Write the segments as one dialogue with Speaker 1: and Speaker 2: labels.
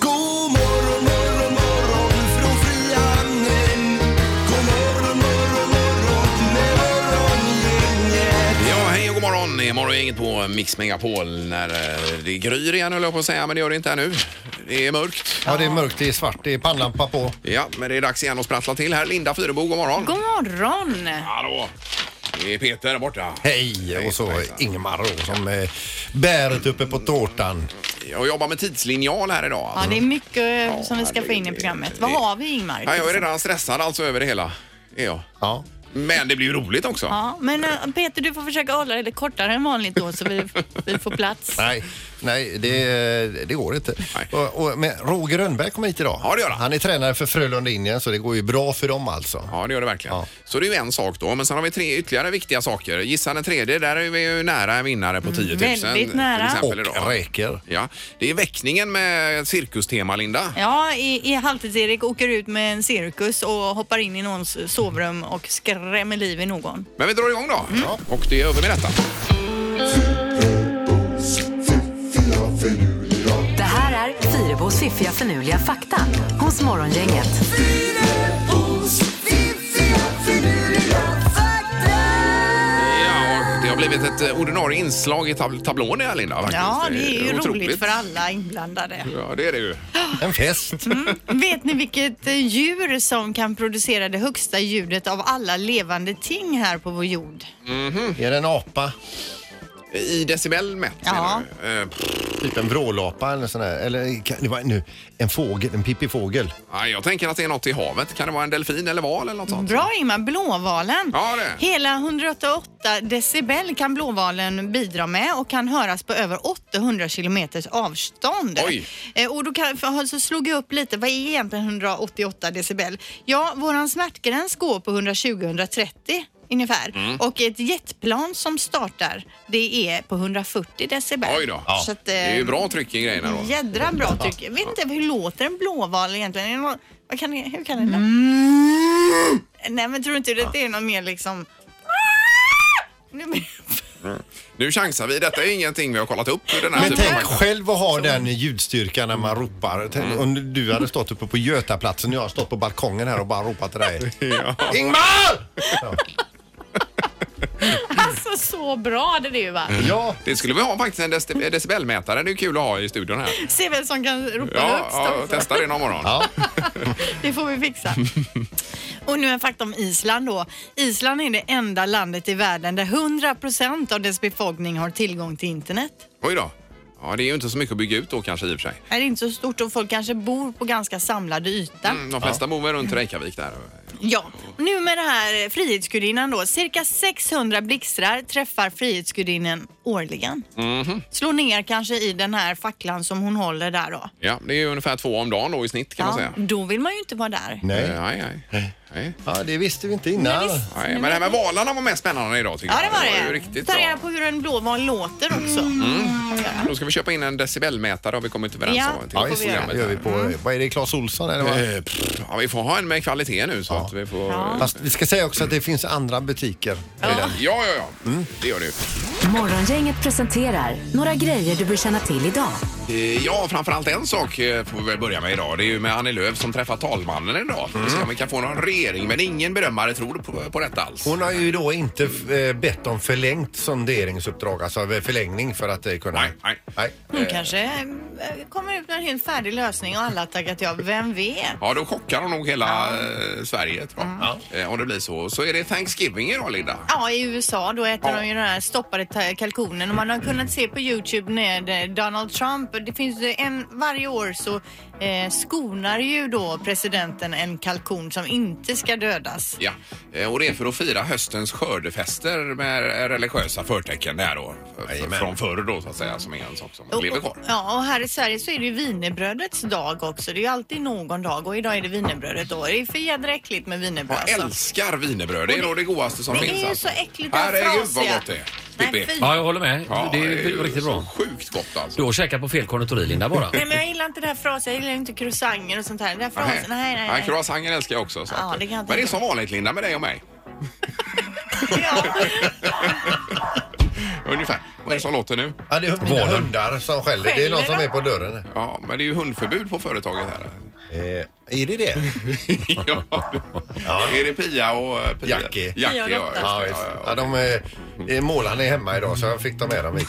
Speaker 1: God morgon morgon morgon från Frihamnen. God morgon morgon morgon med morgongänget.
Speaker 2: Ja, hej och god morgon. Det är morgongänget på Mix Megapol när eh, det gryr igen höll jag på att säga, men det gör det inte här nu. Det är mörkt.
Speaker 3: Ja, det är mörkt, det är svart, det är pannlampa på.
Speaker 2: Ja, men det är dags igen att sprattla till här. Linda Fyrebo, god morgon.
Speaker 4: God morgon!
Speaker 2: Hallå! Det är Peter där borta.
Speaker 3: Hej! Och så Ingmar då, som eh, bäret uppe på tårtan.
Speaker 2: Jag jobbar med tidslinjal här idag.
Speaker 4: Ja,
Speaker 2: Alltså.
Speaker 4: det är mycket eh, som vi ska få in i programmet. Vad har vi Ingmar?
Speaker 2: Ja, jag är redan stressad alltså över det hela. Är jag.
Speaker 3: Ja.
Speaker 2: Men det blir ju roligt också.
Speaker 4: Ja, men eh, Peter du får försöka hålla det lite kortare än vanligt då så vi, vi får plats.
Speaker 3: Nej, nej det, det går inte.
Speaker 2: Nej.
Speaker 3: Och, och, men Roger Rönnberg kommer hit idag.
Speaker 2: Ja, det gör han.
Speaker 3: Han är tränare för Frölunda Indien så det går ju bra för dem alltså.
Speaker 2: Ja, det gör det verkligen.
Speaker 3: Ja.
Speaker 2: Så det är ju en sak då, men sen har vi tre ytterligare viktiga saker. Gissa den tredje, där är vi ju nära en vinnare på 10 000.
Speaker 4: Mm, väldigt nära.
Speaker 2: Till exempel idag.
Speaker 3: Och räker.
Speaker 2: Ja, det är väckningen med cirkustema, Linda.
Speaker 4: Ja, i, i Halvtids-Erik åker ut med en cirkus och hoppar in i någons sovrum och skrämmer liv i någon.
Speaker 2: Men vi drar igång då.
Speaker 4: Mm.
Speaker 2: Ja. Och det är över med detta.
Speaker 5: Det här är Fyrabos fiffiga förnuliga fakta hos Morgongänget.
Speaker 1: Fyrabos fiffiga finurliga fakta.
Speaker 2: Ja, och det har blivit ett eh, ordinarie inslag i tab- tablån här, Linda. Faktiskt.
Speaker 4: Ja, det är ju
Speaker 2: otroligt.
Speaker 4: roligt för alla inblandade. Mm.
Speaker 2: Ja, det är det ju.
Speaker 3: En fest.
Speaker 4: Vet ni vilket eh, djur som kan producera det högsta ljudet av alla levande ting här på vår jord?
Speaker 3: Är det en apa?
Speaker 2: I decibel mätt,
Speaker 4: Ja.
Speaker 2: menar du? Eh, pff,
Speaker 3: Typ en vrålapa eller sån där. Eller kan det vara nu, en fågel, en pippifågel.
Speaker 2: ja, jag tänker att det är något i havet. Kan det vara en delfin eller val eller något sånt?
Speaker 4: Bra Ingmar, blåvalen.
Speaker 2: Ja, det.
Speaker 4: Hela 188 decibel kan blåvalen bidra med och kan höras på över 800 kilometers avstånd.
Speaker 2: Oj.
Speaker 4: Eh, Och då kan, för- så slog jag upp lite, vad är egentligen 188 decibel? Ja, våran smärtgräns går på 120-130 ungefär.
Speaker 2: Mm.
Speaker 4: Och ett jetplan som startar, det är på 140 decibel.
Speaker 2: Oj då.
Speaker 4: Så att,
Speaker 2: Det är ju
Speaker 4: eh,
Speaker 2: bra tryck i grejerna då.
Speaker 4: Jädra bra tycker jag. Vet inte, hur låter en blåval egentligen? Är det någon, vad kan, det- hur kan den?
Speaker 2: Mm.
Speaker 4: Nej men tror du inte det är någon mer liksom... Nu blir-
Speaker 2: Nu chansar vi. Detta är ingenting vi har kollat upp. Den här
Speaker 3: Men
Speaker 2: typen.
Speaker 3: tänk själv att ha den ljudstyrkan när man ropar.
Speaker 2: Mm.
Speaker 3: Tänk om du hade stått uppe på Götaplatsen och jag har stått på balkongen här och bara ropat till dig. Ingmar!
Speaker 2: Mm.
Speaker 4: Alltså så bra hade det ju varit.
Speaker 3: Ja.
Speaker 2: Det skulle vi ha faktiskt, en deci- decibelmätare. Det är kul att ha i studion här.
Speaker 4: Se vem som kan ropa
Speaker 2: Ja,
Speaker 4: högst
Speaker 2: ja
Speaker 4: också.
Speaker 2: testa det någon morgon.
Speaker 3: Ja.
Speaker 4: Det får vi fixa. Och nu en fakta om Island då. Island är det enda landet i världen där 100% av dess befolkning har tillgång till internet.
Speaker 2: Oj då. Ja, det är ju inte så mycket att bygga ut då kanske i och för sig.
Speaker 4: Det är inte så stort och folk kanske bor på ganska samlade yta.
Speaker 2: Mm, De flesta bor väl runt Reykjavik där.
Speaker 4: Ja, nu med det här Frihetsgudinnan då. Cirka 600 blixtrar träffar Frihetsgudinnan årligen.
Speaker 2: Mhm.
Speaker 4: Slår ner kanske i den här facklan som hon håller där då.
Speaker 2: Ja, det är ju ungefär två om dagen då i snitt kan man säga.
Speaker 4: då vill man ju inte vara där.
Speaker 2: Eh,
Speaker 3: Nej.
Speaker 2: Nej, nej. nej.
Speaker 3: Ja, det visste vi inte innan.
Speaker 4: Nej, visst.
Speaker 2: nej. Men det här med valarna var mest spännande idag tycker
Speaker 4: Ja,
Speaker 2: jag.
Speaker 4: det var
Speaker 2: ju
Speaker 4: det.
Speaker 2: riktigt
Speaker 4: Ta reda
Speaker 2: bra. Mm.
Speaker 4: på hur en blåval låter också.
Speaker 2: Då ska vi köpa in en decibelmätare har vi kommit överens
Speaker 4: Ja,
Speaker 2: om. till
Speaker 3: Ja,
Speaker 4: får
Speaker 3: visst,
Speaker 4: vi göra.
Speaker 2: programmet
Speaker 3: det gör vi på, vad är det, Claes Olsson eller vad?
Speaker 2: här. Eh, pff, Ja, vi får ha en med kvalitet nu så att vi får...
Speaker 4: Ja.
Speaker 2: Ja,
Speaker 3: Fast vi ska säga också att det finns andra butiker. redan.
Speaker 2: ja, ja.
Speaker 3: Mm.
Speaker 2: Det gör det ju.
Speaker 5: Morgongänget presenterar några grejer du bör känna till idag.
Speaker 2: Eh, Ja, framförallt en sak eh, får vi väl börja med idag. Det är ju med Annie Lööf som träffar talmannen idag. Vi ska se om vi kan få någon regering, men ingen bedömare tror på, på detta alls.
Speaker 3: Hon har ju då inte eh, bett om förlängt sonderingsuppdrag, alltså eh, förlängning för att eh, kunna...
Speaker 2: Nej, nej.
Speaker 4: Hon kanske eh, kommer ut med en helt färdig lösning och alla har tackat ja. Vem vet?
Speaker 2: Ja, då chockar hon nog hela eh, Sverige tror
Speaker 4: Mm.
Speaker 2: jag. Eh, om det blir så. Så är det Thanksgiving idag, Linda.
Speaker 4: Ja, i USA då äter
Speaker 2: Ja.
Speaker 4: de ju den här stoppade ta- kalkonen och man har kunnat se på Youtube när eh, Donald Trump det finns ju en, varje år så eh, skonar ju då presidenten en kalkon som inte ska dödas.
Speaker 2: Ja, eh, och det är för att fira höstens skördefester med religiösa förtecken där då. F-
Speaker 3: Jajamän.
Speaker 2: Från förr då så att säga, som är en sak som
Speaker 4: Och-
Speaker 2: lever kvar.
Speaker 4: och- Ja, och här i Sverige så är det ju wienerbrödets dag också. Det är ju alltid någon dag och idag är det wienerbrödet då. Det är för jädra äckligt med wienerbröd.
Speaker 2: Jag
Speaker 4: alltså.
Speaker 2: älskar wienerbröd, det är nog det godaste som
Speaker 4: det
Speaker 2: finns.
Speaker 4: är ju
Speaker 2: alltså.
Speaker 4: så äckligt och
Speaker 2: Herregud vad
Speaker 4: frasiga.
Speaker 2: gott det är.
Speaker 4: Nej,
Speaker 2: Pippi.
Speaker 4: fy.
Speaker 6: Ja, jag håller med.
Speaker 2: Ja,
Speaker 6: det, är ju riktigt
Speaker 2: så
Speaker 6: bra.
Speaker 2: Sjukt gott alltså.
Speaker 6: Du har käkat på fel konditori, Linda, bara.
Speaker 4: Nej, men jag gillar inte det här frasen. Jag gillar inte croissanter och sånt här. Det här frasen,
Speaker 2: Nej,
Speaker 4: nej, nej, nej.
Speaker 2: Croissanten älskar jag också. Så
Speaker 4: Ja,
Speaker 2: att-
Speaker 4: det kan jag
Speaker 2: men
Speaker 4: inte
Speaker 2: det är
Speaker 4: göra.
Speaker 2: som vanligt Linda med dig och mig.
Speaker 4: Ja.
Speaker 2: Ungefär. Vad är det som låter nu?
Speaker 3: Ja, det är mina hundar som skäller. Det är någon som är på dörren.
Speaker 2: Ja, men det är ju hundförbud på företaget här.
Speaker 3: Eh, är det det?
Speaker 2: ja. Är det Pia och eh, Pia?
Speaker 3: Jackie.
Speaker 2: Jackie,
Speaker 4: Pia och
Speaker 2: ja.
Speaker 4: Lotta.
Speaker 2: just det.
Speaker 3: Ja, visst. ja, de är, målarna är hemma idag så jag fick ta med dem hit.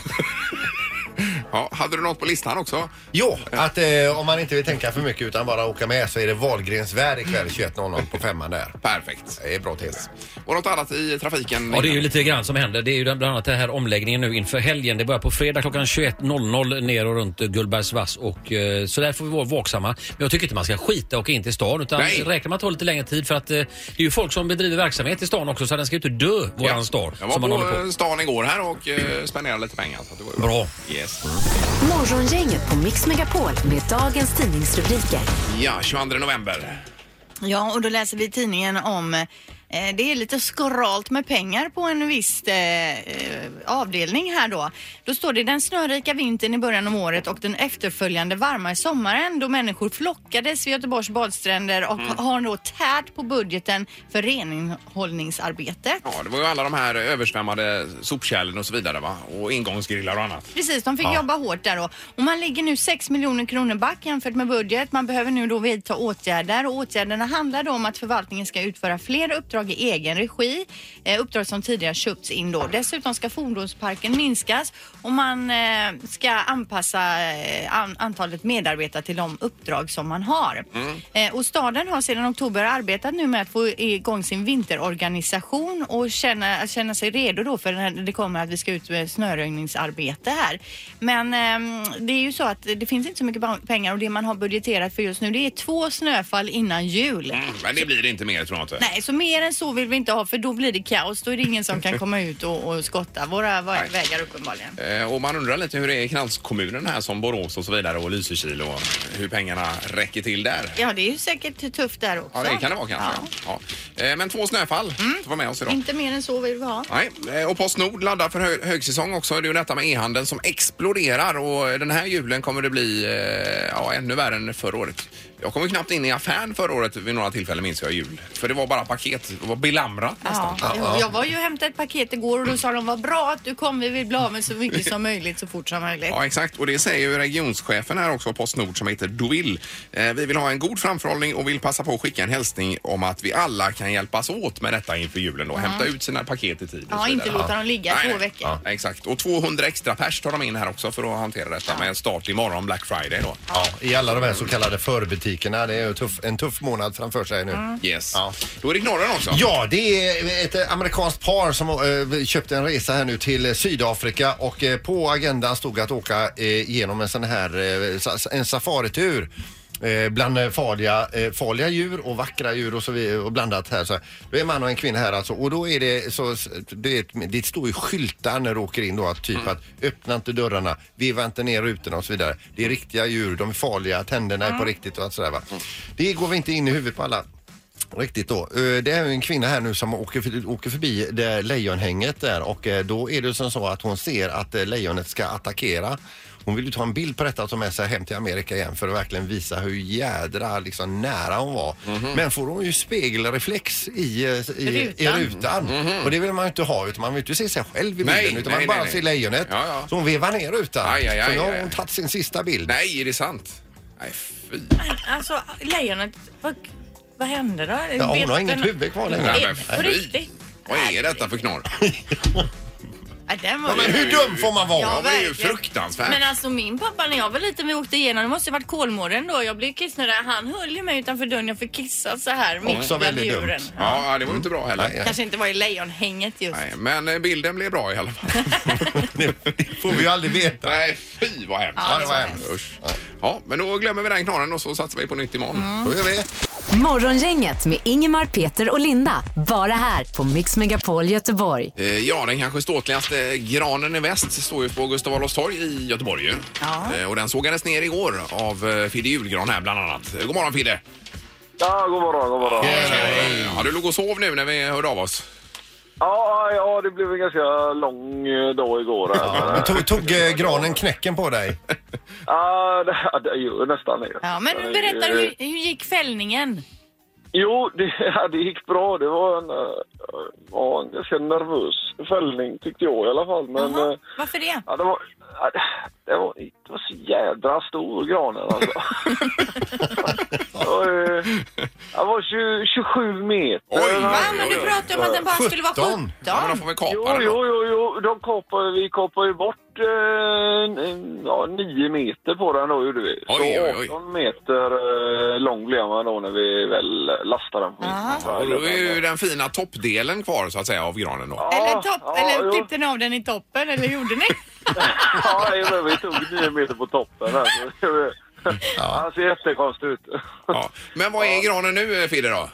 Speaker 2: Ja, hade du något på listan också?
Speaker 3: Jo, att eh, om man inte vill tänka för mycket utan bara åka med så är det Wahlgrens värld ikväll 21.00 på femman där.
Speaker 2: Perfekt.
Speaker 3: Det är bra tips.
Speaker 2: Och något annat i trafiken?
Speaker 6: Ja, det är ju lite grann som händer. Det är ju bland annat den här omläggningen nu inför helgen. Det börjar på fredag klockan 21.00 ner och runt Gullbergsvass. Och, eh, så där får vi vara vaksamma. Men jag tycker inte man ska skita och åka in till stan. Utan
Speaker 2: Nej.
Speaker 6: räknar man att ta lite längre tid för att eh, det är ju folk som bedriver verksamhet i stan också så den ska ju inte dö, våran stad.
Speaker 2: Jag
Speaker 6: som man
Speaker 2: var
Speaker 6: håller
Speaker 2: på, eh,
Speaker 6: på.
Speaker 2: stan igår här och eh, spenderade lite pengar. Så att det var ju
Speaker 6: Bra.
Speaker 2: Yes.
Speaker 5: Morgongänget på Mix Megapol med dagens tidningsrubriker.
Speaker 2: Ja, 22 november.
Speaker 4: Ja, och då läser vi i tidningen om eh, det är lite skralt med pengar på en viss eh, eh, avdelning här då. Då står det den snörika vintern i början av året och den efterföljande varma sommaren då människor flockades vid Göteborgs badstränder och har då tärt på budgeten för renhållningsarbetet.
Speaker 2: Ja, det var ju alla de här översvämmade sopkärlen och så vidare va? Och ingångsgrillar och annat.
Speaker 4: Precis, de fick jobba hårt där då. Och man ligger nu 6 miljoner kronor back jämfört med budget. Man behöver nu då vidta åtgärder och åtgärderna handlar då om att förvaltningen ska utföra fler uppdrag i egen regi. Eh, uppdrag som tidigare köpts in då. Dessutom ska fordonsparken minskas och man eh, ska anpassa eh, an- antalet medarbetare till de uppdrag som man har.
Speaker 2: Mm.
Speaker 4: Eh, och staden har sedan oktober arbetat nu med att få igång sin vinterorganisation och känna, känna sig redo då för när det kommer att vi ska ut med snöröjningsarbete här. Men ehm, det är ju så att det finns inte så mycket ba- pengar och det man har budgeterat för just nu det är två snöfall innan jul.
Speaker 2: Mm, men det blir det inte mer tror jag inte.
Speaker 4: Nej, så mer än så vill vi inte ha för då blir det kaos. Då är det ingen som kan komma ut och, och skotta våra va-
Speaker 2: Nej.
Speaker 4: vägar uppenbarligen.
Speaker 2: Eh, Och man undrar lite hur det är i kranskommunen här som Borås och så vidare och Lysekil och hur pengarna räcker till där.
Speaker 4: Ja, det är ju säkert tufft där också.
Speaker 2: Ja, det kan det vara kanske. Ja. Eh, Men två snöfall var med oss
Speaker 4: Ja.
Speaker 2: idag.
Speaker 4: Inte mer än så vill vi ha.
Speaker 2: Nej, eh, och Postnord laddar för hö- högsäsong också. Det är ju detta med e-handeln som exploderar och den här julen kommer det bli eh, ja, ännu värre än förra året. Jag kom ju knappt in i affären förra året vid några tillfällen minns jag i jul. För det var bara paket, det var belamrat nästan.
Speaker 4: Ja, jag- jag var ju och hämtade ett paket igår och då sa de vad bra att du kom, vi vill bli av med så mycket som möjligt så fort som möjligt.
Speaker 2: Ja, exakt. Och det säger ju regionschefen här också, Postnord, som heter Dovill. Eh, vi vill ha en god framförhållning och vill passa på att skicka en hälsning om att vi alla kan hjälpas åt med detta inför julen och hämta ut sina paket i tid. och
Speaker 4: Ja,
Speaker 2: så
Speaker 4: inte
Speaker 2: vidare.
Speaker 4: låta dem ligga
Speaker 2: Nej,
Speaker 4: två
Speaker 2: nej.
Speaker 4: veckor.
Speaker 2: Ja, exakt. Och 200 extra pers tar de in här också för att hantera detta med en start imorgon, Black Friday då.
Speaker 3: Ja, I alla de här så kallade förbutikerna. Det är ju tuff, en tuff månad framför sig nu.
Speaker 2: Yes.
Speaker 3: Ja.
Speaker 2: Då är det knorren också.
Speaker 3: Ja, det är ett eh, amerikanskt par som eh, köpte en resa här nu till eh, Sydafrika och eh, på agendan stod att åka eh, genom en sån här eh, sa- en safaritur. eh, Bland eh, farliga, eh, farliga djur och vackra djur och så vidare och blandat här. Så här. Då är en man och en kvinna här alltså och då är det så, s- det, är ett- det står ju skyltar när du åker in då att typ att öppna inte dörrarna, veva inte ner rutorna och så vidare. Det är riktiga djur, de är farliga, tänderna är på riktigt och allt sådär va. Det går vi inte in i huvudet på alla. Riktigt då. Eh, Det är ju en kvinna här nu som åker, för, åker förbi det lejonhänget där och eh, då är det som så att hon ser att eh, lejonet ska attackera. Hon vill ju ta en bild på detta och ta med sig hem till Amerika igen för att verkligen visa hur jädra liksom, nära hon var.
Speaker 2: Mhm.
Speaker 3: Men får hon ju spegelreflex i, eh, i rutan, i
Speaker 4: Rutan.
Speaker 3: rutan. och det vill man ju inte ha utan man vill ju inte se sig själv i
Speaker 2: Mhm. Nej,
Speaker 3: bilden utan
Speaker 2: nej,
Speaker 3: man bara
Speaker 2: nej, nej.
Speaker 3: ser lejonet.
Speaker 2: Ja, ja.
Speaker 3: Så hon vevar ner rutan.
Speaker 2: Aj, aj, aj,
Speaker 3: så nu har
Speaker 2: aj,
Speaker 3: hon
Speaker 2: aj.
Speaker 3: tagit sin sista bild.
Speaker 2: Nej, är det sant? Nej, fy.
Speaker 4: Alltså lejonet, vad, vad hände då?
Speaker 3: Ja, hon har inget huvud kvar längre.
Speaker 2: Nej,
Speaker 4: Eh,
Speaker 2: men
Speaker 4: på
Speaker 2: fy.
Speaker 4: riktigt?
Speaker 2: Vad är detta för knorr?
Speaker 4: Ja, den var
Speaker 3: Ja, men hur dum får man vara?
Speaker 2: Ja, det är ju
Speaker 4: verkligen.
Speaker 2: fruktansvärt.
Speaker 7: Men alltså min pappa när jag var liten vi åkte igenom, det måste ju varit Kolmården då, jag blev kissnödig. Han höll ju mig utanför dörren, jag fick kissa så här mitt
Speaker 3: Också
Speaker 7: bland
Speaker 3: väldigt
Speaker 7: djuren.
Speaker 3: dumt.
Speaker 2: Ja, det var ju inte bra heller.
Speaker 3: Nej, nej.
Speaker 7: Kanske inte var i lejonhänget just.
Speaker 2: Nej, men eh, bilden blev bra i alla fall.
Speaker 3: Det får vi ju aldrig veta.
Speaker 2: Nej, fy vad hemskt. Alltså,
Speaker 3: Ja, det var hemskt.
Speaker 2: Usch. Ja, men då glömmer vi den knorren och så satsar vi på nytt imorgon.
Speaker 7: Mm.
Speaker 3: Då gör vi det.
Speaker 5: Morgongänget med Ingemar, Peter och Linda. Bara här på Mix Megapol Göteborg.
Speaker 2: Eh, Ja, den kanske ståtligaste granen i väst står ju på Gustav Adolfs torg i Göteborg. ju. Eh, Och den sågades ner igår av eh, Fidde Julgran här bland annat. Eh, God morgon Fidde! Eh,
Speaker 8: Ja, god morgon, god morgon.
Speaker 2: Ja, du låg och sov nu när vi hörde av oss.
Speaker 8: Ja, ja, det blev en ganska lång eh, dag igår. här.
Speaker 3: Men tog, tog eh, granen knäcken på dig?
Speaker 8: Ja, det, ja, det gör nästan det.
Speaker 7: Ja, men
Speaker 8: Ja,
Speaker 7: nu
Speaker 8: det-
Speaker 7: berättar du, hur, hur gick fällningen?
Speaker 8: Jo, det, ja, det gick bra. Det var en, eh, ja, en ganska nervös fällning tyckte jag i alla fall. Men
Speaker 7: Jaha,
Speaker 8: eh,
Speaker 7: Varför det?
Speaker 8: ja, det, var, ja, det, det, var, det var så jädra stor granen alltså. det, var, eh, det var 20, 27 meter.
Speaker 2: Oj,
Speaker 7: Va? Men du pratade om att den bara skulle vara
Speaker 3: 17.
Speaker 7: 17.
Speaker 2: Ja, då får vi
Speaker 8: Jo,
Speaker 2: kapa den då.
Speaker 8: jo, jo, jo. De kapar, vi kapar ju bort eh, n- n- ja, nio meter på den då gjorde vi.
Speaker 2: Oj,
Speaker 8: Så
Speaker 2: oj, oj.
Speaker 8: 18 meter eh, lång blev man då när vi väl lastade den. På
Speaker 4: Aha.
Speaker 2: Och då är ju den fina toppdelen kvar så att säga av granen då.
Speaker 4: Eller, topp,
Speaker 8: ja,
Speaker 4: eller
Speaker 8: jo.
Speaker 4: klippte ni av den i toppen eller gjorde ni?
Speaker 8: Ja, jajamän, vi tog nio meter på toppen. Här, så det- Han ser jättekonstig ut.
Speaker 2: Ja. Men vad är granen nu eh, Fidde då?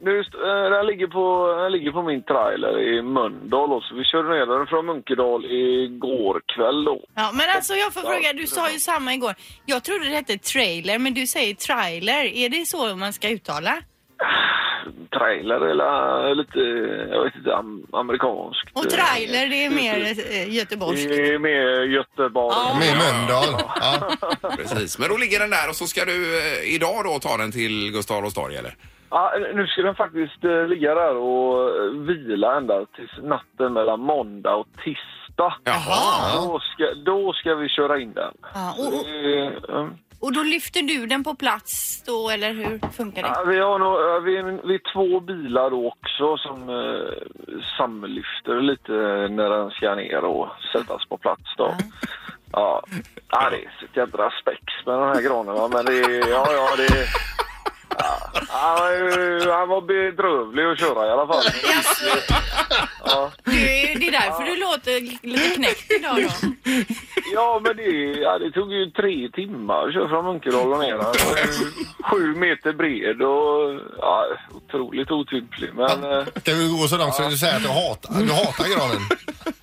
Speaker 8: Nu, st- eh, den, ligger på, den ligger på min trailer i Mölndal. då, så Vi körde ner den från Munkedal igår kväll. Då.
Speaker 4: Ja, men alltså jag får fråga, du sa ju samma igår. Jag trodde det hette trailer, men du säger trailer. Är det så man ska uttala?
Speaker 8: Trailer eller eh, lite, jag vet inte, am- amerikanskt.
Speaker 4: Och trailer, det är mer eh, göteborgskt.
Speaker 8: Det är med Göteborg.
Speaker 3: Med Mölndal. Ja.
Speaker 2: Precis, men då ligger den där och så ska du eh, idag då ta den till Gustav Adolfs torg eller?
Speaker 8: Ja, Ah, nu ska den faktiskt eh, ligga där och eh, vila ända tills natten mellan måndag och tisdag.
Speaker 2: Jaha.
Speaker 8: Då, ska, då ska vi köra in den.
Speaker 4: Ja, och, och,
Speaker 8: Eh, eh,
Speaker 4: och då lyfter du den på plats då, eller hur funkar det?
Speaker 8: Ja, vi har nog, eh, vi, är- vi är två bilar då också som eh, samlyfter lite när den ska ner och sättas på plats då. Ja, ja det är ett jädra spex med den här granen va? men det är, ja, ja det är... Ja, han var ju- han var bedrövlig att köra i alla fall. Ja.
Speaker 4: Du, är- det är därför du låter lite knäckt idag då.
Speaker 8: Ja, men det, ja, det tog ju tre timmar att köra från Munkedal och ner. Den var ju Sju meter bred och ja, otroligt otymplig. Men, eh,
Speaker 3: Ska vi gå så långt så du säger att du hatar, du hatar granen?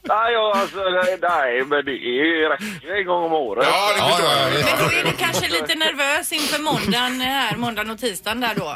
Speaker 8: nej, jag, alltså, nej, nej, men det är- räcker ju en gång om året.
Speaker 2: Ja, det
Speaker 3: Ja,
Speaker 2: förstår
Speaker 3: ja,
Speaker 2: jag.
Speaker 3: ja.
Speaker 7: Men då är du kanske lite nervös inför
Speaker 4: eh,
Speaker 7: måndagen här, måndagen och tisdagen där då.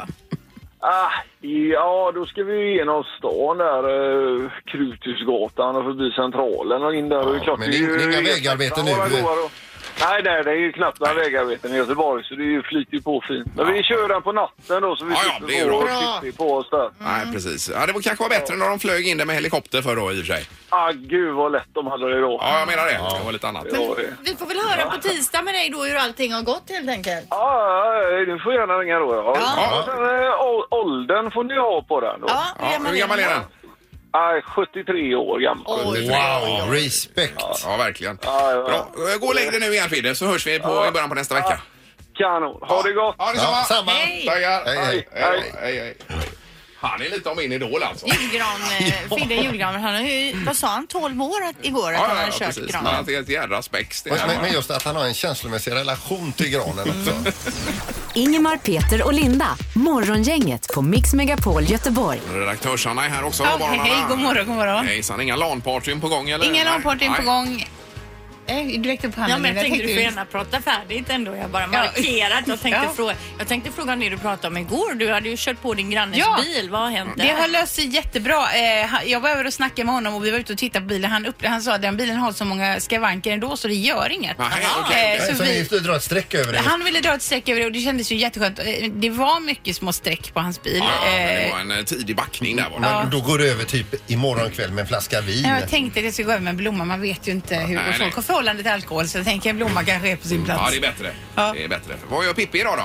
Speaker 8: Ah, ja, då ska vi ju genom stan där, eh, Kruthusgatan och förbi Centralen och in där. och
Speaker 3: Ja,
Speaker 8: klart
Speaker 3: men det är
Speaker 8: ju
Speaker 3: inga
Speaker 8: ersatta
Speaker 3: vägarbeten nu.
Speaker 8: våra gåar och- Nej, nej, det är ju knappt några vägarbeten i Göteborg så det är ju- flyter ju på fint. Men vi kör den på natten då så vi
Speaker 2: Ja, ja, det är
Speaker 8: slipper
Speaker 2: ju
Speaker 8: gå
Speaker 2: bra.
Speaker 8: och titta på oss där.
Speaker 2: Nej, precis. Ja, det var kanske var bättre när de flög in det med helikopter förr då i och för sig.
Speaker 8: Ah, gud vad lätt de hade det då.
Speaker 2: Ja, jag menar det. Det var lite annat.
Speaker 8: Ja, det-
Speaker 4: Vi får väl höra på tisdag med dig då hur allting har gått helt enkelt.
Speaker 8: Ah, Ja, ja, du får gärna ringa då. Ja.
Speaker 2: Ja.
Speaker 8: Och Sen, eh, å- åldern får ni ha på den då.
Speaker 4: Ja, hur
Speaker 2: Ja,
Speaker 4: gör man
Speaker 2: hur gammal
Speaker 4: det?
Speaker 2: är den?
Speaker 8: Ah, 73 år gammal.
Speaker 3: Wow, respekt.
Speaker 2: Ja, verkligen.
Speaker 8: Ja, ja.
Speaker 2: Bra. Gå och lägg dig nu igen Fidde så hörs vi på, i början på nästa vecka.
Speaker 8: Kanon. Ha det gott!
Speaker 2: Ja, detsamma.
Speaker 3: Ja, samma.
Speaker 4: Hej!
Speaker 2: Tackar.
Speaker 3: Hej, hej.
Speaker 2: Hej, hej, hej. Han är lite av min idol alltså.
Speaker 4: Julgran, eh, Fidde Julgran, han har ju, vad sa han, 12 år att, igår att
Speaker 2: Ja,
Speaker 4: han
Speaker 2: ja,
Speaker 4: hade
Speaker 2: ja,
Speaker 4: kört
Speaker 2: precis. Men
Speaker 4: granen.
Speaker 2: han är ett jädra spex det här
Speaker 3: Men, men
Speaker 2: bara.
Speaker 3: just att han har en känslomässig relation till granen också. Eh,
Speaker 5: Ingemar, Peter och Linda. Morgongänget på Mix Megapol Göteborg.
Speaker 2: Redaktörs-Anna är här också.
Speaker 7: Ja,
Speaker 2: God morgon,
Speaker 7: hej,
Speaker 2: Anna.
Speaker 7: god morgon, god morgon.
Speaker 2: Hejsan, inga LAN-partyn på gång eller?
Speaker 7: Inga
Speaker 2: Nej,
Speaker 7: LAN-partyn
Speaker 2: nej.
Speaker 7: på gång.
Speaker 4: Eh, direkt upp
Speaker 7: Ja,
Speaker 4: handen.
Speaker 7: men jag tänkte du får gärna prata färdigt ändå. Jag bara markerat. Jag tänkte,
Speaker 4: Ja.
Speaker 7: fråga, jag tänkte fråga om det du pratade om igår. Du hade ju kört på din grannes
Speaker 9: Ja.
Speaker 7: bil. Vad har hänt där?
Speaker 9: Det har löst sig jättebra. Eh, han- jag var över och snackade med honom och vi var ute och tittade på bilen. Han, upp, han sa att den bilen har så många skavanker ändå så det gör inget.
Speaker 2: Nej,
Speaker 7: Jaha.
Speaker 2: okej.
Speaker 9: Eh,
Speaker 3: Så
Speaker 9: så
Speaker 3: ni
Speaker 9: vi,
Speaker 3: drar ett streck över det.
Speaker 9: han ville dra ett streck över det och det kändes ju jätteskönt. Eh, Det var mycket små streck på hans bil.
Speaker 2: Ja, men det
Speaker 9: Eh,
Speaker 2: var en eh, tidig backning där var det.
Speaker 3: Men då går det över typ imorgon kväll med en flaska vin.
Speaker 9: jag tänkte det skulle gå över med en blomma. Man vet ju inte hur
Speaker 2: nej,
Speaker 9: och
Speaker 2: nej.
Speaker 9: folk har förhållande till alkohol så jag tänker en blomma kanske är på sin plats.
Speaker 2: Ja, det är bättre.
Speaker 9: Ja.
Speaker 2: Det är bättre. Vad gör Pippi idag då?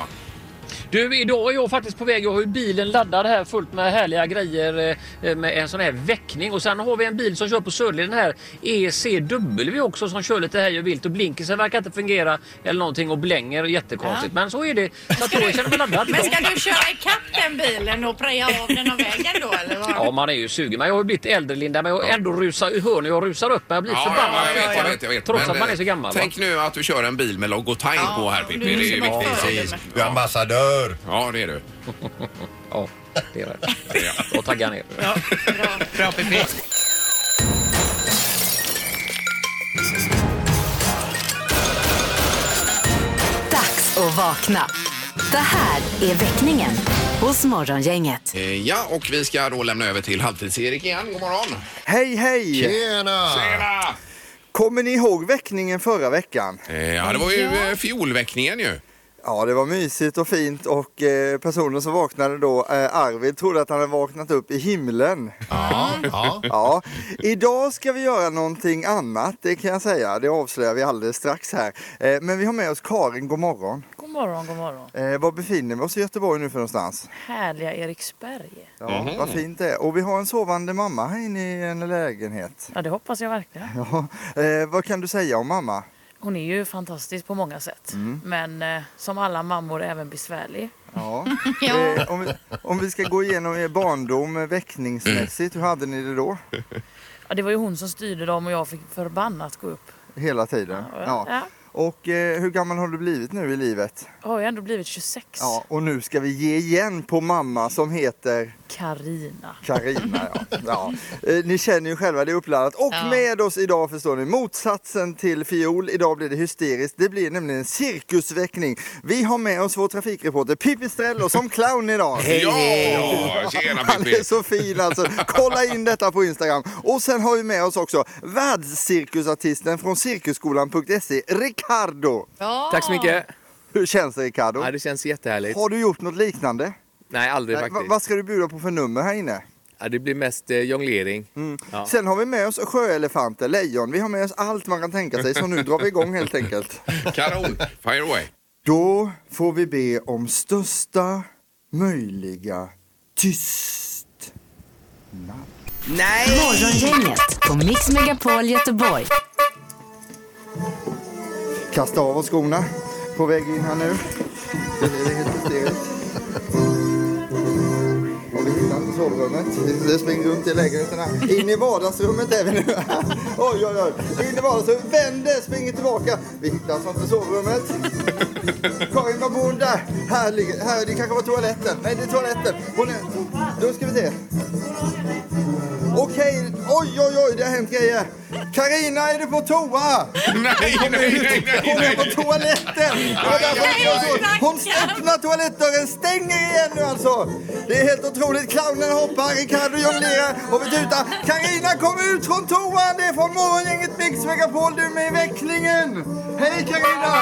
Speaker 10: Du, idag är jag faktiskt på väg. Jag har ju bilen laddad här fullt med härliga grejer eh, med en sån här väckning. Och sen har vi en bil som kör på Sörleden här, ECW också, som kör lite här och vilt. Och blinkersen verkar inte fungera eller någonting och blänger jättekonstigt. Men så är det. Så att jag känner mig laddad.
Speaker 11: Men ska du köra ikapp den bilen och preja av den av vägen då eller vad?
Speaker 10: Ja, man är ju sugen. Men jag har ju blivit äldre Linda, men jag ändå rusar, hör ni, jag rusar upp. Jag blir
Speaker 2: Ja,
Speaker 10: förbannad.
Speaker 2: jag vet, jag vet, jag vet.
Speaker 10: Trots
Speaker 2: Men,
Speaker 10: att man är så
Speaker 2: eh,
Speaker 10: gammal. va?
Speaker 2: Tänk nu att du kör en bil med logotyp på här Pippi. Det är ju
Speaker 12: Ja,
Speaker 2: viktigt.
Speaker 12: precis. Du är ambassadör.
Speaker 2: Ja, det är du.
Speaker 10: ja, det är det. Och taggar ner.
Speaker 13: Bra Pippi.
Speaker 5: Dags att vakna. Det här är väckningen hos Morgongänget.
Speaker 2: Eh, Ja, och vi ska då lämna över till Halvtids-Erik igen. God morgon!
Speaker 3: Hej, hej!
Speaker 2: Tjena! Tjena!
Speaker 3: Kommer ni ihåg väckningen förra veckan?
Speaker 2: Ja, det var ju eh, fjolväckningen ju.
Speaker 3: Ja, det var mysigt och fint och eh, personen som vaknade då, eh, Arvid, trodde att han hade vaknat upp i himlen.
Speaker 12: Ja, ja.
Speaker 3: ja. Idag ska vi göra någonting annat, det kan jag säga. Det avslöjar vi alldeles strax här. Eh, men vi har med oss Karin, god morgon.
Speaker 4: God morgon, god morgon.
Speaker 3: Eh, var befinner vi oss i Göteborg nu för någonstans?
Speaker 4: Härliga Eriksberg.
Speaker 3: Ja, vad fint det är. Och vi har en sovande mamma här inne i en lägenhet.
Speaker 4: Ja, det hoppas jag verkligen.
Speaker 3: Ja. Eh, vad kan du säga om mamma?
Speaker 4: Hon är ju fantastisk på många sätt.
Speaker 3: Mm.
Speaker 4: Men eh, som alla mammor även besvärlig.
Speaker 3: Ja. Eh, om, vi, om vi ska gå igenom er barndom eh, väckningsmässigt, hur hade ni det då?
Speaker 4: Ja, det var ju hon som styrde dem och jag fick förbannat gå upp.
Speaker 3: Hela tiden?
Speaker 4: Ja.
Speaker 3: Ja. Och eh, hur gammal har du blivit nu i livet?
Speaker 4: Jag har ju ändå blivit 26.
Speaker 3: Ja, och nu ska vi ge igen på mamma som heter
Speaker 4: Karina.
Speaker 3: Karina. Ja. Ja. Eh, Ni känner ju själva, det är uppladdat. Och
Speaker 4: Ja.
Speaker 3: med oss idag förstår ni, motsatsen till fiol. Idag blir det hysteriskt. Det blir nämligen en cirkusväckning. Vi har med oss vår trafikreporter Pippi Strello som clown idag.
Speaker 14: Hej, hej. Ja, tjena,
Speaker 3: Han
Speaker 14: Pippi.
Speaker 3: är så fin alltså. Kolla in detta på Instagram. Och sen har vi med oss också världscirkusartisten från cirkusskolan.se, Ricardo.
Speaker 4: Ja.
Speaker 15: Tack så mycket.
Speaker 3: Hur känns det Ricardo?
Speaker 15: Ja, det känns jättehärligt.
Speaker 3: Har du gjort något liknande?
Speaker 15: Nej, aldrig
Speaker 3: Nej,
Speaker 15: faktiskt.
Speaker 3: va- Vad ska du bjuda på för nummer här inne?
Speaker 15: Ja, det blir mest eh, jonglering. Ja.
Speaker 3: Mm. Sen har vi med oss sjöelefanter, lejon, vi har med oss allt man kan tänka sig. Så nu drar vi igång helt enkelt.
Speaker 2: Karol, fire away.
Speaker 3: Då får vi be om största möjliga tyst.
Speaker 5: Nej! Morgongänget på Mix Megapol Göteborg.
Speaker 3: Kasta av oss skorna. På väg in här nu. Det är helt hysteriskt. Och vi hittar inte sovrummet. Vi springer runt i lägenheten här. In i vardagsrummet är vi nu. Oj, oj, oj. In i vardagsrummet. Vänder, springer tillbaka. Vi hittar alltså inte sovrummet. Karin, var bor hon där? Här ligger... Här, det kanske var toaletten. Nej, det är toaletten. Hon är... Då ska vi se. Okej, oj, oj, oj, det har hänt grejer. Karina, är du på toa?
Speaker 2: Nej,
Speaker 3: Kom
Speaker 14: nej,
Speaker 3: ut.
Speaker 14: nej, nej,
Speaker 3: Hon är
Speaker 14: nej.
Speaker 3: på toaletten. Det var därför
Speaker 14: Nej,
Speaker 3: jag såg.
Speaker 14: stackarn.
Speaker 3: Hon öppnar toalettdörren, stänger igen nu alltså. Det är helt otroligt. Clownen hoppar, Ricardo jonglerar och vi tutar. Karina, kom ut från toan. Det är från morgongänget Mix Megapol. Du är med i väcklingen. Hej Karina!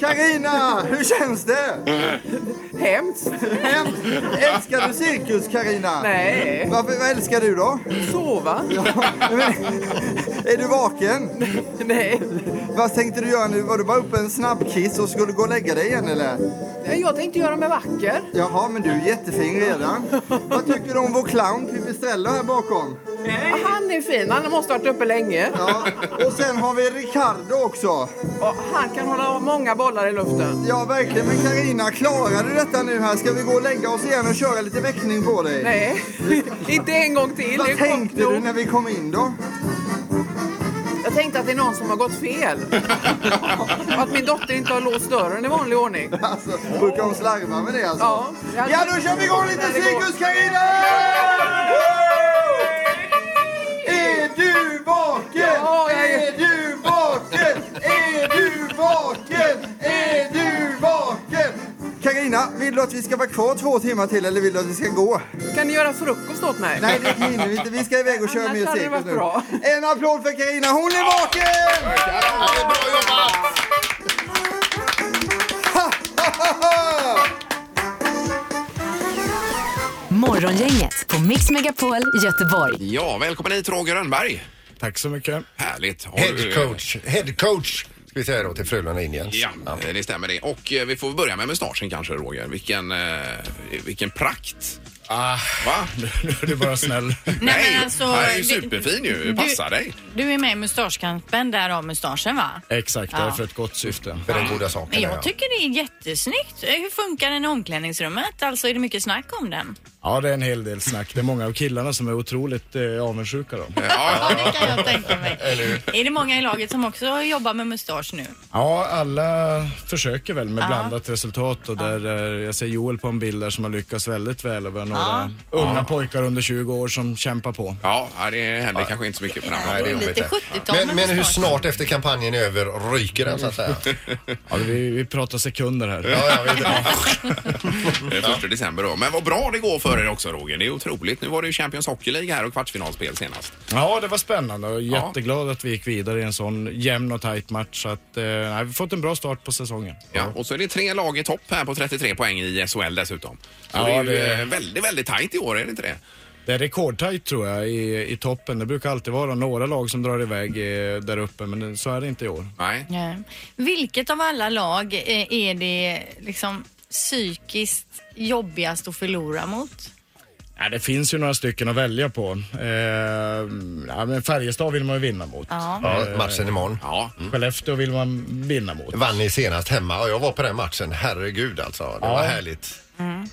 Speaker 3: Karina, hur känns det? Hemskt. Hemskt. Älskar du cirkus, Karina?
Speaker 14: Nej.
Speaker 3: Varför, vad älskar du då? Sova. Ja, men, är du vaken? Nej. Vad tänkte du göra nu? Var du bara uppe en snabbkiss och skulle gå och lägga dig igen eller?
Speaker 4: Jag tänkte göra mig vacker.
Speaker 3: Jaha, men du är jättefin redan. Vad tycker du om vår clown Pippi Strello här bakom?
Speaker 4: Han är fin, han måste ha varit uppe länge.
Speaker 3: Ja, och sen har vi Ricardo också.
Speaker 4: han kan hålla många bollar i luften.
Speaker 3: Ja, verkligen. Men Karina, klarar du detta nu här? Ska vi gå och lägga oss igen och köra lite väckning på dig?
Speaker 4: Nej, inte en gång till.
Speaker 3: Vad tänkte du när vi kom in då?
Speaker 4: Jag tänkte att det är någon som har gått fel. att min dotter inte har låst dörren i vanlig ordning.
Speaker 3: Alltså, brukar hon slarva med det alltså?
Speaker 4: Ja.
Speaker 3: Ja, då kör vi igång lite cirkus, Carina! Är du vaken?
Speaker 14: Ja, jag är-
Speaker 3: Är du vaken? Är du vaken? Är du vaken? Karina, vill du att vi ska vara kvar två timmar till eller vill du att vi ska gå?
Speaker 4: Kan ni göra frukost åt mig?
Speaker 3: Nej, det hinner vi inte. Vi ska iväg och köra
Speaker 4: Annars
Speaker 3: mer
Speaker 4: hade det
Speaker 3: cirkus
Speaker 4: varit
Speaker 3: nu.
Speaker 4: bra.
Speaker 3: En applåd för Karina, hon är vaken!
Speaker 5: Morgongänget på Mix Megapol Göteborg.
Speaker 2: Ja, välkommen hit Roger Rönnberg.
Speaker 16: Tack så mycket.
Speaker 2: Härligt. Har
Speaker 12: Head
Speaker 2: du-
Speaker 12: coach. Head coach.
Speaker 2: Ska
Speaker 3: speciellt då till Frölunda Indians.
Speaker 2: Ja, eh, det stämmer det. Och eh, vi får börja med mustaschen kanske, Roger. Vilken, eh, vilken prakt! Ah. Va? Du är bara snäll. Nej,
Speaker 7: Nej, men alltså,
Speaker 2: han är ju
Speaker 7: det-
Speaker 2: superfin ju.
Speaker 7: du-
Speaker 2: Passar dig.
Speaker 7: Du är med i Mustaschkampen, därav mustaschen va?
Speaker 10: Exakt,
Speaker 7: Ja.
Speaker 10: det är för ett gott syfte.
Speaker 3: För den goda saken.
Speaker 7: Men jag tycker det är jättesnyggt. Eh, Hur funkar den i omklädningsrummet? Alltså är det mycket snack om den?
Speaker 10: Ja, det är en hel del snack. Det är många av killarna som är otroligt eh, avundsjuka då.
Speaker 2: Ja,
Speaker 7: det kan jag tänka mig. Är det många i laget som också jobbar med mustasch nu?
Speaker 10: Ja, alla försöker väl med
Speaker 7: Ja.
Speaker 10: blandat resultat och där eh, jag ser Joel på en bild där som har lyckats väldigt väl och vi har några
Speaker 2: Ja.
Speaker 10: unga
Speaker 2: Ja.
Speaker 10: pojkar under 20 år som kämpar på.
Speaker 2: Ja, ja, det händer kanske inte så mycket på den här
Speaker 3: Nej, det är
Speaker 2: dagen.
Speaker 3: jobbigt det. Men, men hur snart efter kampanjen är över ryker den så att säga?
Speaker 10: Ja, vi, vi pratar sekunder här.
Speaker 2: Det är första december då. Men vad bra det går för er också Roger. Det är otroligt. Nu var det ju Champions Hockey League här och kvartsfinalspel senast.
Speaker 10: Ja, det var spännande och jätteglad att vi gick vidare i en sån jämn och tajt match. Så att, eh, nej, vi fått en bra start på säsongen.
Speaker 2: Ja, och så är det tre lag i topp här på 33 poäng i SHL dessutom. Så
Speaker 10: Ja,
Speaker 2: det är ju
Speaker 10: det-
Speaker 2: eh, väldigt, väldigt tajt i år, är det inte det?
Speaker 10: Det är rekordtajt tror jag i, i toppen. Det brukar alltid vara några lag som drar iväg eh, där uppe men det- så är det inte i år.
Speaker 2: Nej.
Speaker 7: Nej. Vilket av alla lag eh, är det liksom psykiskt jobbigast att förlora mot?
Speaker 10: Ja, det finns ju några stycken att välja på. Eh, ja, men Färjestad vill man ju vinna mot.
Speaker 7: Ja.
Speaker 3: Ja, matchen imorgon.
Speaker 2: Ja.
Speaker 10: Skellefteå vill man vinna mot.
Speaker 3: Vann ni senast hemma och jag var på den matchen. Herregud alltså. Det
Speaker 10: Ja.
Speaker 3: var härligt.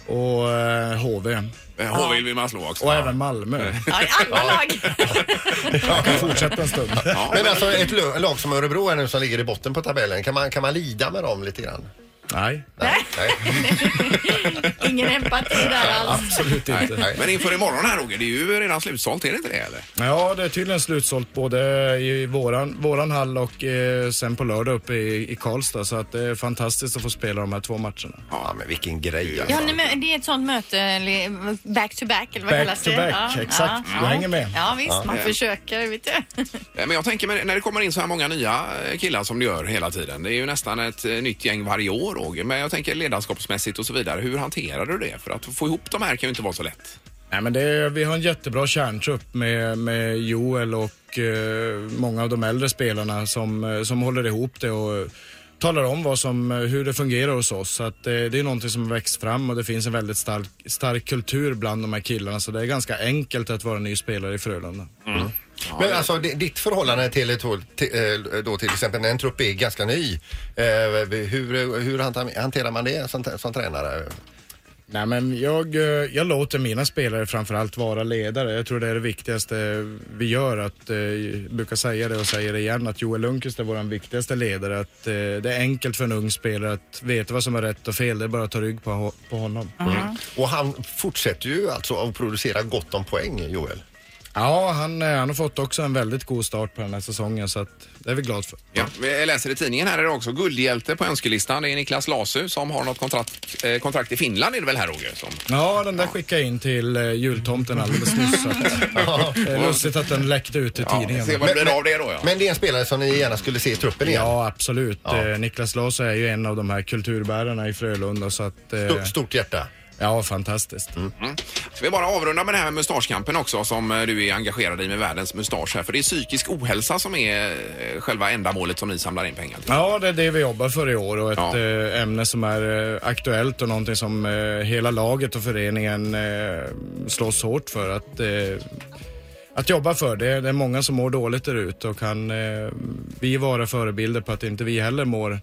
Speaker 10: Och eh, HV.
Speaker 2: HV vill man slå också.
Speaker 10: Och även Malmö.
Speaker 3: Jag
Speaker 10: kan fortsätta en stund.
Speaker 3: Men alltså ett lo- lag som Örebro är nu som ligger i botten på tabellen. Kan man, kan man lida med dem lite grann?
Speaker 10: Nej.
Speaker 7: Ingen empati där alls.
Speaker 10: Absolut
Speaker 2: Nej.
Speaker 10: inte.
Speaker 2: Men inför imorgon här Roger, det är ju redan slutsålt, är det inte det eller?
Speaker 10: Ja, det är tydligen slutsålt både i våran, våran hall och eh, sen på lördag uppe i, i Karlstad. Så att det är fantastiskt att få spela de här två matcherna.
Speaker 3: Ja, men vilken grej alltså.
Speaker 7: Ja, nej, men det är ett sånt möte, eller back to back eller vad
Speaker 10: Back
Speaker 7: kallas
Speaker 10: to
Speaker 7: det?
Speaker 10: back,
Speaker 7: ja,
Speaker 10: exakt.
Speaker 7: Ja.
Speaker 10: Jag hänger med.
Speaker 7: Ja, visst.
Speaker 2: Ja.
Speaker 7: Man
Speaker 2: Ja.
Speaker 7: försöker, vet du.
Speaker 2: Eh, Men jag tänker men när det kommer in så här många nya eh, killar som det gör hela tiden. Det är ju nästan ett eh, nytt gäng varje år Roger. Men jag tänker ledarskapsmässigt och så vidare. Hur hanterar du det? För att få ihop de här kan ju inte vara så lätt.
Speaker 10: Nej, men det är, vi har en jättebra kärntrupp med, med Joel och eh, många av de äldre spelarna som, eh, som håller ihop det och eh, talar om vad som, eh, hur det fungerar hos oss. Så att, eh, det är någonting som har växt fram och det finns en väldigt stark, stark kultur bland de här killarna så det är ganska enkelt att vara ny spelare i Frölunda.
Speaker 3: Men alltså di- ditt förhållande till, till, till, eh, då till exempel när en trupp är ganska ny. eh, Hur, hur hanta- hanterar man det som, som tränare?
Speaker 10: Nej, men jag, eh, jag låter mina spelare framförallt vara ledare. Jag tror det är det viktigaste vi gör. Att, eh, jag brukar säga det och säger det igen att Joel Lundqvist är vår viktigaste ledare. Att, eh, det är enkelt för en ung spelare att veta vad som är rätt och fel. Det är bara att ta rygg på, ho- på honom.
Speaker 3: Mm. Och han fortsätter ju alltså att producera gott om poäng, Joel.
Speaker 10: Ja, han, eh, han har fått också en väldigt god start på den här säsongen så att, det är vi glada för.
Speaker 2: Ja, jag läser i tidningen här idag också. Guldhjälte på önskelistan. Det är Niklas Lasu som har något kontrakt, eh, kontrakt i Finland är det väl här Roger? Som...
Speaker 10: Ja, den där skickade jag in till eh, jultomten alldeles nyss. Så att, det är lustigt att den läckte ut i tidningen.
Speaker 3: Men det är en spelare som ni gärna skulle se i truppen igen.
Speaker 10: Ja, absolut.
Speaker 3: Ja.
Speaker 10: Eh, Niklas Larsson är ju en av de här kulturbärarna i Frölunda. Så att, eh,
Speaker 3: Stort, stort hjärta.
Speaker 10: Ja, fantastiskt.
Speaker 2: Mm. Ska vi bara avrunda med det här med mustaschkampen också som eh, du är engagerad i med världens mustasch här. För det är psykisk ohälsa som är eh, själva ändamålet som ni samlar in pengar till.
Speaker 10: Ja, det är det vi jobbar för i år och ett eh, ämne som är eh, aktuellt och någonting som eh, hela laget och föreningen eh, slåss hårt för att, eh, att jobba för. Det är, det är många som mår dåligt där ute och kan eh, vi vara förebilder på att inte vi heller mår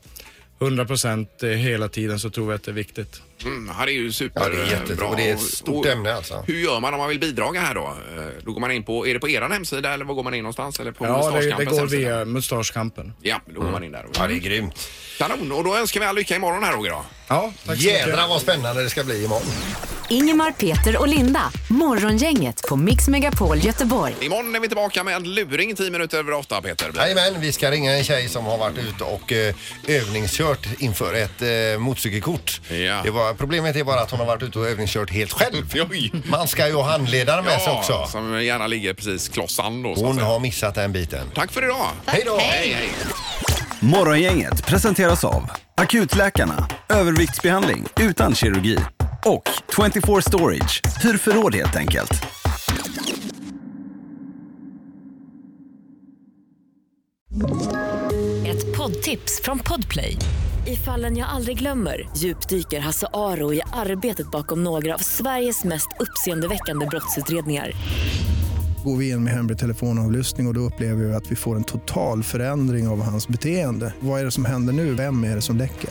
Speaker 10: 100 procent eh, hela tiden så tror vi att det är viktigt.
Speaker 2: Mm, det här är ju super. Ja,
Speaker 3: det är jättebra. Och det är ett stort ämne, alltså.
Speaker 2: Hur gör man om man vill bidraga här då? Eh, Då går man in på, är det på er hemsida eller var går man in någonstans? Eller på
Speaker 10: Ja, det, det
Speaker 2: Mustaschkampens
Speaker 10: går
Speaker 2: hemsida?
Speaker 10: via Mm. Mustaschkampen.
Speaker 2: Ja, då går man in där.
Speaker 3: Ja, det är grymt.
Speaker 2: Kanon, och då önskar vi all lycka imorgon här Roger då.
Speaker 10: Ja,
Speaker 5: tack så mycket.
Speaker 3: Jädrar vad spännande det ska bli imorgon.
Speaker 5: Ingemar, Peter och Linda. Morgongänget på Mix Megapol Göteborg.
Speaker 2: Imorgon är vi tillbaka med en luring 10 minuter över åtta Peter.
Speaker 3: Jajamän, vi ska ringa en tjej som har varit ute och eh, övningskört inför ett eh, motorcykelkort. Det var, problemet är bara att hon har varit ute och övningskört helt själv. Man ska ju ha handledaren med sig också.
Speaker 2: Som gärna ligger precis klossan då. så att
Speaker 3: Hon
Speaker 2: säga.
Speaker 3: har missat den biten.
Speaker 2: Tack för idag.
Speaker 3: Hej då!
Speaker 2: Hej, hej.
Speaker 17: Morgongänget presenteras av Akutläkarna, överviktsbehandling utan kirurgi och 24 Storage, hur förråd helt enkelt.
Speaker 5: Ett poddtips från Podplay. I fallen jag aldrig glömmer djupdyker Hasse Aro i arbetet bakom några av Sveriges mest uppseendeväckande brottsutredningar.
Speaker 14: Går vi in med hemlig telefonavlyssning och, och då upplever vi att vi får en total förändring av hans beteende. Vad är det som händer nu? Vem är det som läcker?